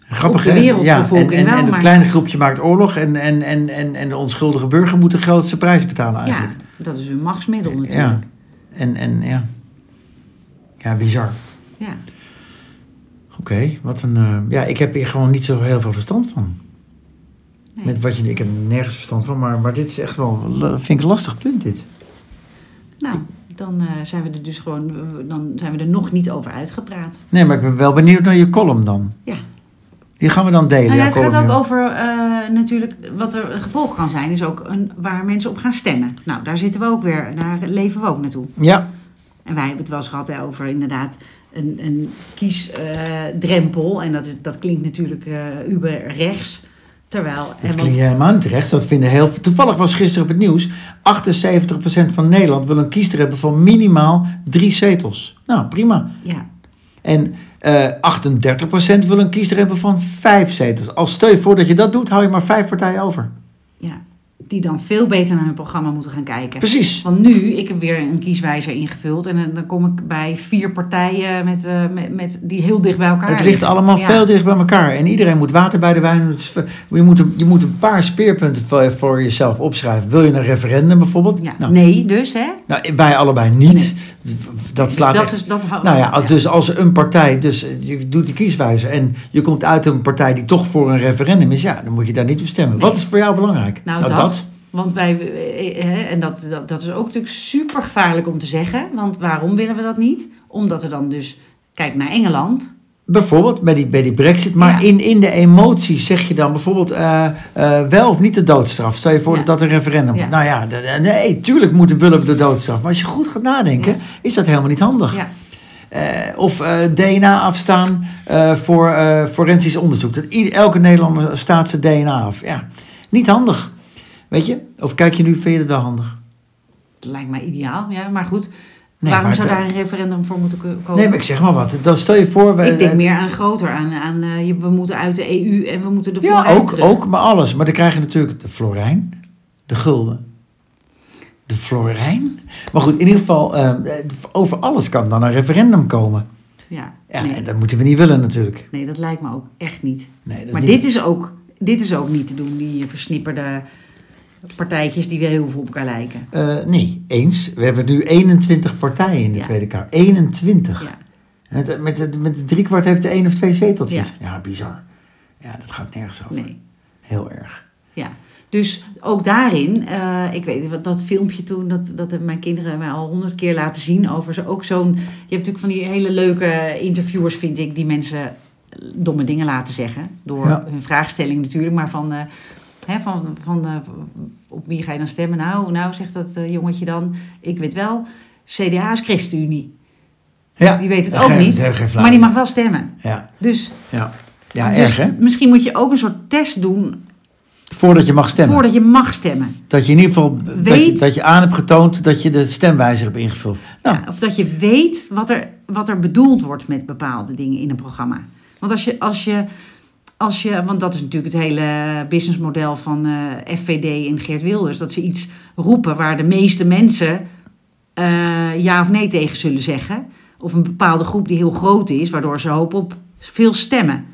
[SPEAKER 1] Grappig,
[SPEAKER 2] op de
[SPEAKER 1] hè?
[SPEAKER 2] wereld
[SPEAKER 1] ja, en,
[SPEAKER 2] bevolking
[SPEAKER 1] en,
[SPEAKER 2] wel,
[SPEAKER 1] en het
[SPEAKER 2] maar-
[SPEAKER 1] kleine groepje maakt oorlog en, en, en, en, en de onschuldige burger moet de grootste prijs betalen
[SPEAKER 2] Ja,
[SPEAKER 1] eigenlijk.
[SPEAKER 2] dat is een machtsmiddel natuurlijk.
[SPEAKER 1] ja. En, en ja. Ja, bizar.
[SPEAKER 2] Ja.
[SPEAKER 1] Oké, wat een... eh, ja, ik heb hier gewoon niet zo heel veel verstand van.
[SPEAKER 2] Nee.
[SPEAKER 1] Met wat je, ik heb nergens verstand van, maar, maar dit is echt wel... Vind ik een lastig punt, dit.
[SPEAKER 2] Nou, dan eh, zijn we er dus gewoon, eh, dan zijn we er nog niet over uitgepraat.
[SPEAKER 1] Nee, maar ik ben wel benieuwd naar je column dan.
[SPEAKER 2] Ja.
[SPEAKER 1] Die gaan we dan delen.
[SPEAKER 2] Nou ja,
[SPEAKER 1] jouw
[SPEAKER 2] het gaat
[SPEAKER 1] column,
[SPEAKER 2] ook
[SPEAKER 1] ja.
[SPEAKER 2] over eh, natuurlijk wat er een gevolg kan zijn, is ook een, waar mensen op gaan stemmen. Nou, daar zitten we ook weer, daar leven we ook naartoe.
[SPEAKER 1] Ja,
[SPEAKER 2] En wij hebben het wel eens gehad hè, over inderdaad een, een kiesdrempel. en dat, is- dat klinkt natuurlijk eh uber rechts. Terwijl, en
[SPEAKER 1] dat
[SPEAKER 2] want-
[SPEAKER 1] klinkt helemaal niet terecht. Dat vinden heel... Toevallig was gisteren op het nieuws... 78% van Nederland wil een kiester hebben van minimaal drie zetels. Nou, prima.
[SPEAKER 2] ja,
[SPEAKER 1] En eh 38% wil een kiester hebben van vijf zetels. Als steun voordat je dat doet, hou je maar vijf partijen over.
[SPEAKER 2] ja, die dan veel beter naar hun programma moeten gaan kijken.
[SPEAKER 1] Precies.
[SPEAKER 2] Want nu, ik heb weer een kieswijzer ingevuld. En eh, dan kom ik bij vier partijen met, eh, met, met, die heel dicht bij elkaar
[SPEAKER 1] Het ligt
[SPEAKER 2] liggen.
[SPEAKER 1] allemaal
[SPEAKER 2] Ja.
[SPEAKER 1] veel dicht bij elkaar. En iedereen moet water bij de wijn. Het is ve- Je moet een, je moet een paar speerpunten voor, voor jezelf opschrijven. Wil je een referendum bijvoorbeeld?
[SPEAKER 2] Ja,
[SPEAKER 1] Nou,
[SPEAKER 2] Nee, dus hè?
[SPEAKER 1] nou, wij allebei niet. Dat slaat
[SPEAKER 2] dat
[SPEAKER 1] echt-
[SPEAKER 2] is, dat hou-
[SPEAKER 1] Nou ja, als- dus als een partij, dus eh, je doet die kieswijze en je komt uit een partij die toch voor een referendum is, ja, dan moet je daar niet op stemmen. Wat is voor jou belangrijk?
[SPEAKER 2] Nou, dat. Want wij, eh, hè, en dat, dat, dat is ook natuurlijk super gevaarlijk om te zeggen. Want waarom willen we dat niet? Omdat er dan dus, kijk naar Engeland.
[SPEAKER 1] Bijvoorbeeld bij die, bij die brexit, maar
[SPEAKER 2] Ja.
[SPEAKER 1] in, in de emotie zeg je dan bijvoorbeeld eh, eh, wel of niet de doodstraf. Stel je voor
[SPEAKER 2] Ja.
[SPEAKER 1] dat dat een referendum
[SPEAKER 2] Ja.
[SPEAKER 1] komt. Nou ja, de- de- nee, tuurlijk moeten willen we de doodstraf. Maar als je goed gaat nadenken,
[SPEAKER 2] Ja.
[SPEAKER 1] is dat helemaal niet handig.
[SPEAKER 2] Ja,
[SPEAKER 1] Eh, of eh, DNA afstaan eh, voor eh, forensisch onderzoek. Dat ieder, elke Nederlander staat zijn DNA af. Ja, niet handig. Weet je? Of kijk je nu, vind je het wel handig?
[SPEAKER 2] dat lijkt mij ideaal. Ja, maar goed,
[SPEAKER 1] Nee,
[SPEAKER 2] waarom
[SPEAKER 1] maar
[SPEAKER 2] zou
[SPEAKER 1] de-
[SPEAKER 2] daar een referendum voor moeten ko- komen?
[SPEAKER 1] Nee, maar ik zeg maar wat. Dan stel je voor... we-
[SPEAKER 2] Oh.
[SPEAKER 1] eh,
[SPEAKER 2] ik denk meer aan groter, aan, aan eh, je- we moeten uit de EU en we moeten de
[SPEAKER 1] Ja,
[SPEAKER 2] vooruit
[SPEAKER 1] ook,
[SPEAKER 2] terug.
[SPEAKER 1] ook, maar alles. Maar dan krijg je natuurlijk de florijn, de gulden, de florijn. Maar goed, in ieder geval, eh, over alles kan dan een referendum komen.
[SPEAKER 2] Ja,
[SPEAKER 1] Ja,
[SPEAKER 2] nee,
[SPEAKER 1] en dat moeten we niet willen natuurlijk.
[SPEAKER 2] nee, dat lijkt me ook echt niet.
[SPEAKER 1] Nee, dat is
[SPEAKER 2] Maar
[SPEAKER 1] niet-
[SPEAKER 2] dit is, ook, dit is ook niet te doen, die versnipperde partijtjes die weer heel veel op elkaar lijken.
[SPEAKER 1] Eh, nee, eens. We hebben nu 21 partijen in de
[SPEAKER 2] Ja.
[SPEAKER 1] Tweede Kamer. 21.
[SPEAKER 2] Ja.
[SPEAKER 1] Met, met, met driekwart heeft de één of twee zeteltjes.
[SPEAKER 2] Ja.
[SPEAKER 1] Ja. bizar. Ja, dat gaat nergens over.
[SPEAKER 2] Nee.
[SPEAKER 1] Heel erg.
[SPEAKER 2] Ja, dus ook daarin, eh, ik weet wat dat filmpje toen, dat, dat hebben mijn kinderen mij al honderd keer laten zien over zo, ook zo'n. Je hebt natuurlijk van die hele leuke interviewers, vind ik, die mensen eh, domme dingen laten zeggen. Door
[SPEAKER 1] Ja.
[SPEAKER 2] hun vraagstelling natuurlijk, maar van, eh, hè, van, van eh, op wie ga je dan stemmen? Nou, nou zegt dat eh, jongetje dan, ik weet wel, CDA is ChristenUnie.
[SPEAKER 1] Ja,
[SPEAKER 2] Die weet het
[SPEAKER 1] dat
[SPEAKER 2] ook
[SPEAKER 1] geeft-
[SPEAKER 2] niet,
[SPEAKER 1] dat heeft geen flauw
[SPEAKER 2] Maar die
[SPEAKER 1] idee.
[SPEAKER 2] mag wel stemmen.
[SPEAKER 1] Ja,
[SPEAKER 2] Dus,
[SPEAKER 1] ja. ja
[SPEAKER 2] dus
[SPEAKER 1] erg hè?
[SPEAKER 2] misschien moet je ook een soort test doen
[SPEAKER 1] Voordat je mag stemmen.
[SPEAKER 2] voordat je mag stemmen.
[SPEAKER 1] Dat je in ieder geval dat je,
[SPEAKER 2] Weet-
[SPEAKER 1] dat je aan hebt getoond dat je de stemwijzer hebt ingevuld. Nou,
[SPEAKER 2] Ja, of dat je weet wat er, wat er bedoeld wordt met bepaalde dingen in een programma. Want als je, als je, als je want dat is natuurlijk het hele businessmodel van eh, FVD en Geert Wilders, dat ze iets roepen waar de meeste mensen eh, ja of nee tegen zullen zeggen. Of een bepaalde groep die heel groot is, waardoor ze hopen op veel stemmen.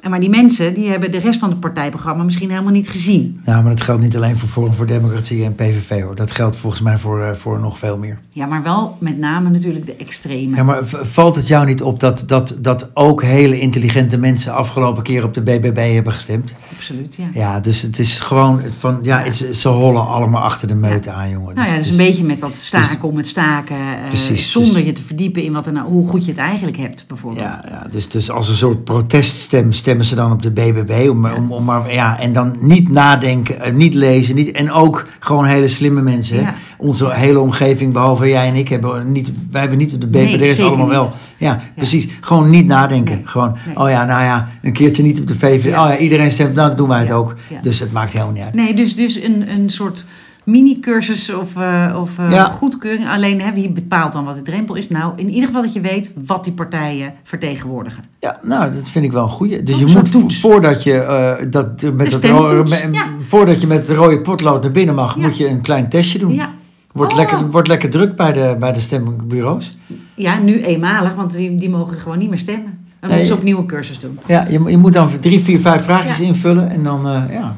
[SPEAKER 2] En maar die mensen die hebben de rest van het partijprogramma misschien helemaal niet gezien.
[SPEAKER 1] ja, nou, maar dat geldt niet alleen voor Forum voor Democratie en PVV hoor. Dat geldt volgens mij voor, eh, voor nog veel meer.
[SPEAKER 2] Ja, maar wel met name natuurlijk de extreme.
[SPEAKER 1] Ja, maar v- valt het jou niet op dat, dat, dat ook hele intelligente mensen afgelopen keer op de BBB hebben gestemd?
[SPEAKER 2] Absoluut, ja.
[SPEAKER 1] Ja, dus het is gewoon van, ja, het, ze hollen allemaal achter de meute aan, jongen.
[SPEAKER 2] Nou ja, dat is
[SPEAKER 1] Dus-
[SPEAKER 2] een beetje met dat staken
[SPEAKER 1] dus-
[SPEAKER 2] om het staken. eh,
[SPEAKER 1] Precies,
[SPEAKER 2] zonder
[SPEAKER 1] dus-
[SPEAKER 2] je te verdiepen in wat er nou, hoe goed je het eigenlijk hebt, bijvoorbeeld.
[SPEAKER 1] Ja, ja dus, dus als een soort proteststem stemmen ze dan op de BBB. Om, om, om maar, ja, en dan niet nadenken, eh, niet lezen. Niet, en ook gewoon hele slimme mensen. hè.
[SPEAKER 2] Ja.
[SPEAKER 1] Onze hele omgeving, behalve jij en ik, hebben niet, wij hebben niet op de BBB.
[SPEAKER 2] Nee,
[SPEAKER 1] er is
[SPEAKER 2] zeker
[SPEAKER 1] allemaal
[SPEAKER 2] niet.
[SPEAKER 1] wel. Ja, precies. Gewoon niet nadenken.
[SPEAKER 2] Nee,
[SPEAKER 1] Gewoon,
[SPEAKER 2] nee.
[SPEAKER 1] oh ja, nou ja, een keertje niet op de VVD.
[SPEAKER 2] Ja.
[SPEAKER 1] Oh ja, iedereen stemt, nou dan doen wij het
[SPEAKER 2] Ja,
[SPEAKER 1] ook.
[SPEAKER 2] ja.
[SPEAKER 1] Dus het maakt helemaal niet uit.
[SPEAKER 2] Nee, dus, dus een, een soort mini-cursus of, eh, of eh,
[SPEAKER 1] Ja.
[SPEAKER 2] goedkeuring. Alleen hè, wie bepaalt dan wat de drempel is? Nou, in ieder geval dat je weet wat die partijen vertegenwoordigen.
[SPEAKER 1] Ja, nou, dat vind ik wel een goeie. Dus
[SPEAKER 2] Toch?
[SPEAKER 1] je
[SPEAKER 2] Zo'n
[SPEAKER 1] moet vo-
[SPEAKER 2] toets.
[SPEAKER 1] voordat je, eh, dat, eh, met dat rode,
[SPEAKER 2] stemtoets,
[SPEAKER 1] me-
[SPEAKER 2] ja.
[SPEAKER 1] voordat je met het rode potlood naar binnen mag,
[SPEAKER 2] Ja.
[SPEAKER 1] moet je een klein testje doen.
[SPEAKER 2] Ja.
[SPEAKER 1] Wordt,
[SPEAKER 2] Oh.
[SPEAKER 1] lekker, wordt lekker druk bij de, bij de stembureaus.
[SPEAKER 2] ja, nu eenmalig, want die, die mogen gewoon niet meer stemmen. En we
[SPEAKER 1] Nee. Oh.
[SPEAKER 2] moeten opnieuw een cursus doen.
[SPEAKER 1] Ja, je, je moet dan drie, vier, vijf vraagjes
[SPEAKER 2] Ja.
[SPEAKER 1] invullen en dan, eh, ja.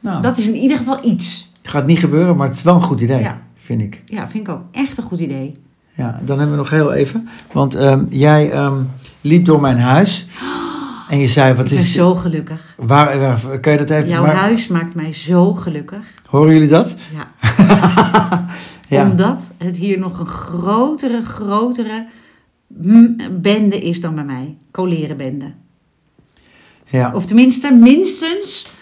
[SPEAKER 1] Nou,
[SPEAKER 2] Dat is in ieder geval iets.
[SPEAKER 1] gaat niet gebeuren, maar het is wel een goed idee,
[SPEAKER 2] Ja.
[SPEAKER 1] vind ik.
[SPEAKER 2] Ja, vind ik ook echt een goed idee.
[SPEAKER 1] Ja, dan hebben we nog heel even. Want ehm, jij ehm, liep door mijn huis en je zei, wat
[SPEAKER 2] ik ben
[SPEAKER 1] is...
[SPEAKER 2] zo gelukkig.
[SPEAKER 1] Waar, waar- kan je dat even...
[SPEAKER 2] Jouw
[SPEAKER 1] maar-
[SPEAKER 2] huis maakt mij zo gelukkig.
[SPEAKER 1] horen jullie dat?
[SPEAKER 2] Ja.
[SPEAKER 1] Ja.
[SPEAKER 2] Omdat het hier nog een grotere, grotere mm, bende is dan bij mij. Colerenbende.
[SPEAKER 1] ja.
[SPEAKER 2] Of tenminste, minstens.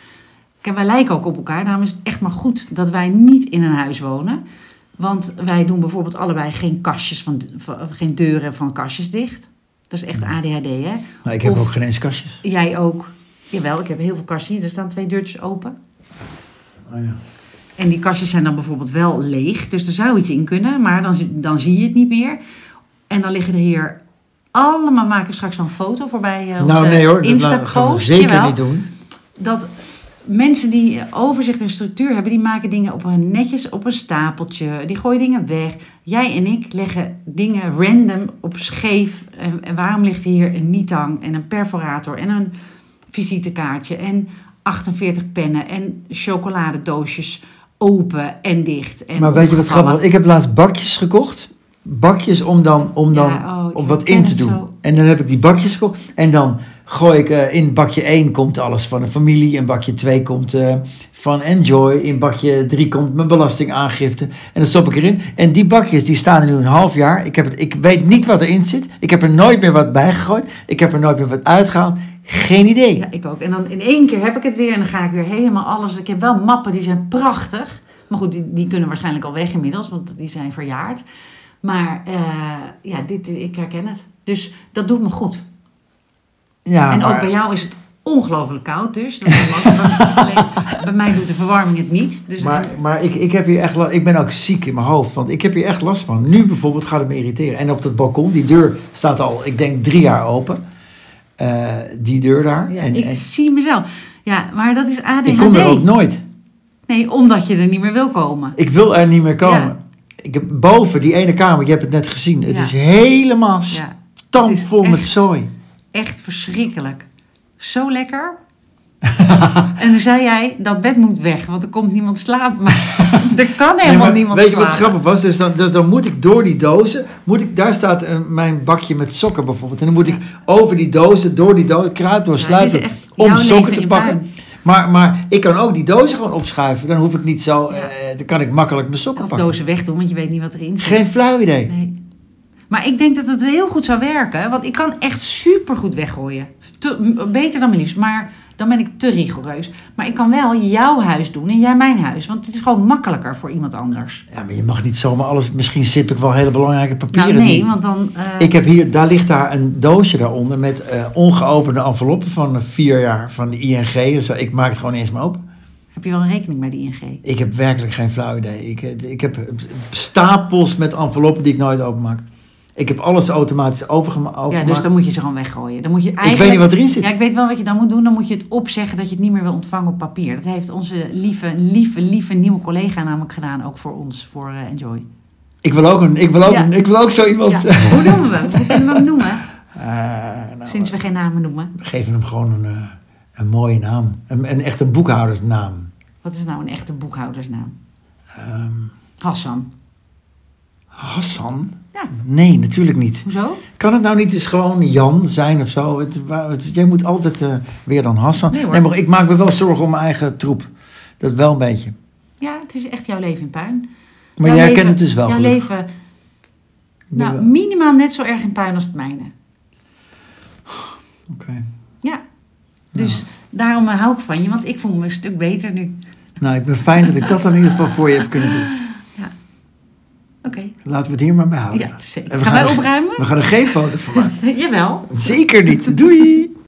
[SPEAKER 2] Kijk, wij lijken ook op elkaar. Daarom is het echt maar goed dat wij niet in een huis wonen. Want wij doen bijvoorbeeld allebei geen kastjes van, van- of geen deuren van kastjes dicht. Dat is echt ADHD, hè?
[SPEAKER 1] Nou, ik heb
[SPEAKER 2] Of-
[SPEAKER 1] ook geen eens kastjes.
[SPEAKER 2] Jij ook. Jawel, ik heb heel veel kastjes hier. Er staan twee deurtjes open.
[SPEAKER 1] Oh, ja.
[SPEAKER 2] En die kastjes zijn dan bijvoorbeeld wel leeg. Dus er zou iets in kunnen, maar dan, zie- dan zie je het niet meer. En dan liggen er hier allemaal... Maken we straks wel een foto voorbij eh,
[SPEAKER 1] Nou
[SPEAKER 2] onze
[SPEAKER 1] nee hoor, dat la- gaan we
[SPEAKER 2] Insta-post.
[SPEAKER 1] zeker
[SPEAKER 2] Jawel.
[SPEAKER 1] niet doen.
[SPEAKER 2] dat mensen die overzicht en structuur hebben, die maken dingen op een netjes op een stapeltje. Die gooien dingen weg. Jij en ik leggen dingen random op scheef. En, en waarom ligt hier een nietang en een perforator en een visitekaartje en 48 pennen en chocoladedoosjes open en dicht. En
[SPEAKER 1] Maar weet je wat
[SPEAKER 2] opgevallen.
[SPEAKER 1] grappig? is? Ik heb laatst bakjes gekocht. Bakjes om dan, om dan
[SPEAKER 2] Ja, oh, ik
[SPEAKER 1] om wat
[SPEAKER 2] herken
[SPEAKER 1] in te
[SPEAKER 2] het
[SPEAKER 1] doen.
[SPEAKER 2] zo.
[SPEAKER 1] En dan heb ik die bakjes gekocht. En dan gooi ik eh, in bakje 1 komt alles van een familie. In bakje 2 komt eh, van Enjoy. In bakje 3 komt mijn belastingaangifte. En dan stop ik erin. En die bakjes die staan er nu een half jaar. Ik, heb het, ik weet niet wat erin zit. Ik heb er nooit meer wat bij gegooid. Ik heb er nooit meer wat uitgehaald. Geen idee.
[SPEAKER 2] Ja, ik ook. En dan in één keer heb ik het weer en dan ga ik weer helemaal alles. Ik heb wel mappen, die zijn prachtig. Maar goed, die, die kunnen waarschijnlijk al weg inmiddels, want die zijn verjaard. Maar eh, ja, dit, ik herken het. Dus dat doet me goed.
[SPEAKER 1] Ja,
[SPEAKER 2] en ook
[SPEAKER 1] maar-
[SPEAKER 2] bij jou is het ongelooflijk koud dus. Dat is wel lastig. Alleen, bij mij doet de verwarming het niet. Dus
[SPEAKER 1] Maar, maar ik, ik, heb hier echt la- ik ben ook ziek in mijn hoofd, want ik heb hier echt last van. Nu bijvoorbeeld gaat het me irriteren. En op dat balkon, die deur staat al, ik denk, drie jaar open. Eh, die deur daar.
[SPEAKER 2] ja,
[SPEAKER 1] en,
[SPEAKER 2] ik
[SPEAKER 1] en-
[SPEAKER 2] zie mezelf. Ja, maar dat is ADHD.
[SPEAKER 1] ik kom er ook nooit.
[SPEAKER 2] Nee, omdat je er niet meer wil komen.
[SPEAKER 1] Ik wil er niet meer komen.
[SPEAKER 2] Ja.
[SPEAKER 1] Ik heb boven die ene kamer, je hebt het net gezien, het
[SPEAKER 2] Ja.
[SPEAKER 1] is helemaal
[SPEAKER 2] Ja,
[SPEAKER 1] stampvol
[SPEAKER 2] het is
[SPEAKER 1] met
[SPEAKER 2] echt-
[SPEAKER 1] zooi.
[SPEAKER 2] Echt verschrikkelijk. Zo lekker. en dan zei jij, dat bed moet weg, want er komt niemand slapen. Maar er kan helemaal
[SPEAKER 1] Nee, maar
[SPEAKER 2] niemand
[SPEAKER 1] weet je
[SPEAKER 2] slapen.
[SPEAKER 1] wat grappig was? Dus dan, dus dan moet ik door die dozen, moet ik, daar staat een, mijn bakje met sokken bijvoorbeeld. En dan moet ik over die dozen, door die dozen, kruip door,
[SPEAKER 2] Ja,
[SPEAKER 1] sluip
[SPEAKER 2] dit
[SPEAKER 1] door,
[SPEAKER 2] is echt
[SPEAKER 1] om
[SPEAKER 2] jouw
[SPEAKER 1] sokken
[SPEAKER 2] leven
[SPEAKER 1] te
[SPEAKER 2] in
[SPEAKER 1] pakken.
[SPEAKER 2] puin.
[SPEAKER 1] Maar, maar ik kan ook die dozen gewoon opschuiven. Dan hoef ik niet zo, eh, dan kan ik makkelijk mijn sokken
[SPEAKER 2] Of
[SPEAKER 1] pakken.
[SPEAKER 2] dozen wegdoen, want je weet niet wat erin zit.
[SPEAKER 1] Geen flauw idee.
[SPEAKER 2] Nee. Maar ik denk dat het heel goed zou werken, want ik kan echt supergoed weggooien. Te- m- beter dan mijn liefst, maar dan ben ik te rigoureus. Maar ik kan wel jouw huis doen en jij mijn huis, want het is gewoon makkelijker voor iemand anders.
[SPEAKER 1] Ja, maar je mag niet zomaar alles, misschien zip ik wel hele belangrijke papieren.
[SPEAKER 2] Nou nee,
[SPEAKER 1] die-
[SPEAKER 2] want dan... eh,
[SPEAKER 1] Ik heb hier, daar ligt daar een doosje daaronder met eh, ongeopende enveloppen van eh, vier jaar van de ING. Dus ik maak het gewoon eens maar open.
[SPEAKER 2] Heb je wel een rekening bij de ING?
[SPEAKER 1] Ik heb werkelijk geen flauw idee. Ik, ik heb stapels met enveloppen die ik nooit openmaak. Ik heb alles automatisch overgema-
[SPEAKER 2] Ja,
[SPEAKER 1] overgemaakt.
[SPEAKER 2] dus dan moet je ze gewoon weggooien. Dan moet je eigenlijk...
[SPEAKER 1] Ik weet niet wat erin zit.
[SPEAKER 2] Ja, ik weet wel wat je dan moet doen. Dan moet je het opzeggen dat je het niet meer wil ontvangen op papier. Dat heeft onze lieve, lieve, lieve nieuwe collega namelijk gedaan. Ook voor ons, voor eh, Enjoy.
[SPEAKER 1] Ik, wil ook een, ik, wil ook
[SPEAKER 2] Ja.
[SPEAKER 1] een, ik wil ook zo iemand.
[SPEAKER 2] Ja. Hoe noemen we hem? Hoe kunnen we hem noemen?
[SPEAKER 1] Eh, nou,
[SPEAKER 2] Sinds we geen namen noemen.
[SPEAKER 1] we geven hem gewoon een, eh, een mooie naam. Een, een echt een boekhoudersnaam.
[SPEAKER 2] Wat is nou een echte boekhoudersnaam?
[SPEAKER 1] Ehm,
[SPEAKER 2] Hassan.
[SPEAKER 1] Hassan?
[SPEAKER 2] Ja.
[SPEAKER 1] Nee, natuurlijk niet.
[SPEAKER 2] Hoezo?
[SPEAKER 1] Kan het nou niet eens gewoon Jan zijn of zo? Het, waar- het- jij moet altijd eh, weer dan Hassan.
[SPEAKER 2] Nee, hoor.
[SPEAKER 1] maar ik maak me wel zorgen om mijn eigen troep. Dat wel een beetje.
[SPEAKER 2] Ja, het is echt jouw leven in puin.
[SPEAKER 1] Maar
[SPEAKER 2] Jouw
[SPEAKER 1] jij
[SPEAKER 2] leven-
[SPEAKER 1] kent het dus wel.
[SPEAKER 2] Jouw
[SPEAKER 1] gelukkig.
[SPEAKER 2] leven,
[SPEAKER 1] Ik ben
[SPEAKER 2] nou,
[SPEAKER 1] wel-
[SPEAKER 2] minimaal net zo erg in puin als het mijne.
[SPEAKER 1] Oké.
[SPEAKER 2] Ja. Dus daarom eh, hou ik van je, want ik voel me een stuk beter nu.
[SPEAKER 1] Nou, ik ben fijn dat ik dat dan in ieder geval voor je heb kunnen doen.
[SPEAKER 2] Oké.
[SPEAKER 1] Laten we het hier maar bij houden.
[SPEAKER 2] Ja, zeker.
[SPEAKER 1] En we
[SPEAKER 2] Gaan
[SPEAKER 1] gaan
[SPEAKER 2] wij
[SPEAKER 1] er-
[SPEAKER 2] opruimen?
[SPEAKER 1] We gaan er geen foto van maken.
[SPEAKER 2] Jawel.
[SPEAKER 1] Zeker niet. Doei!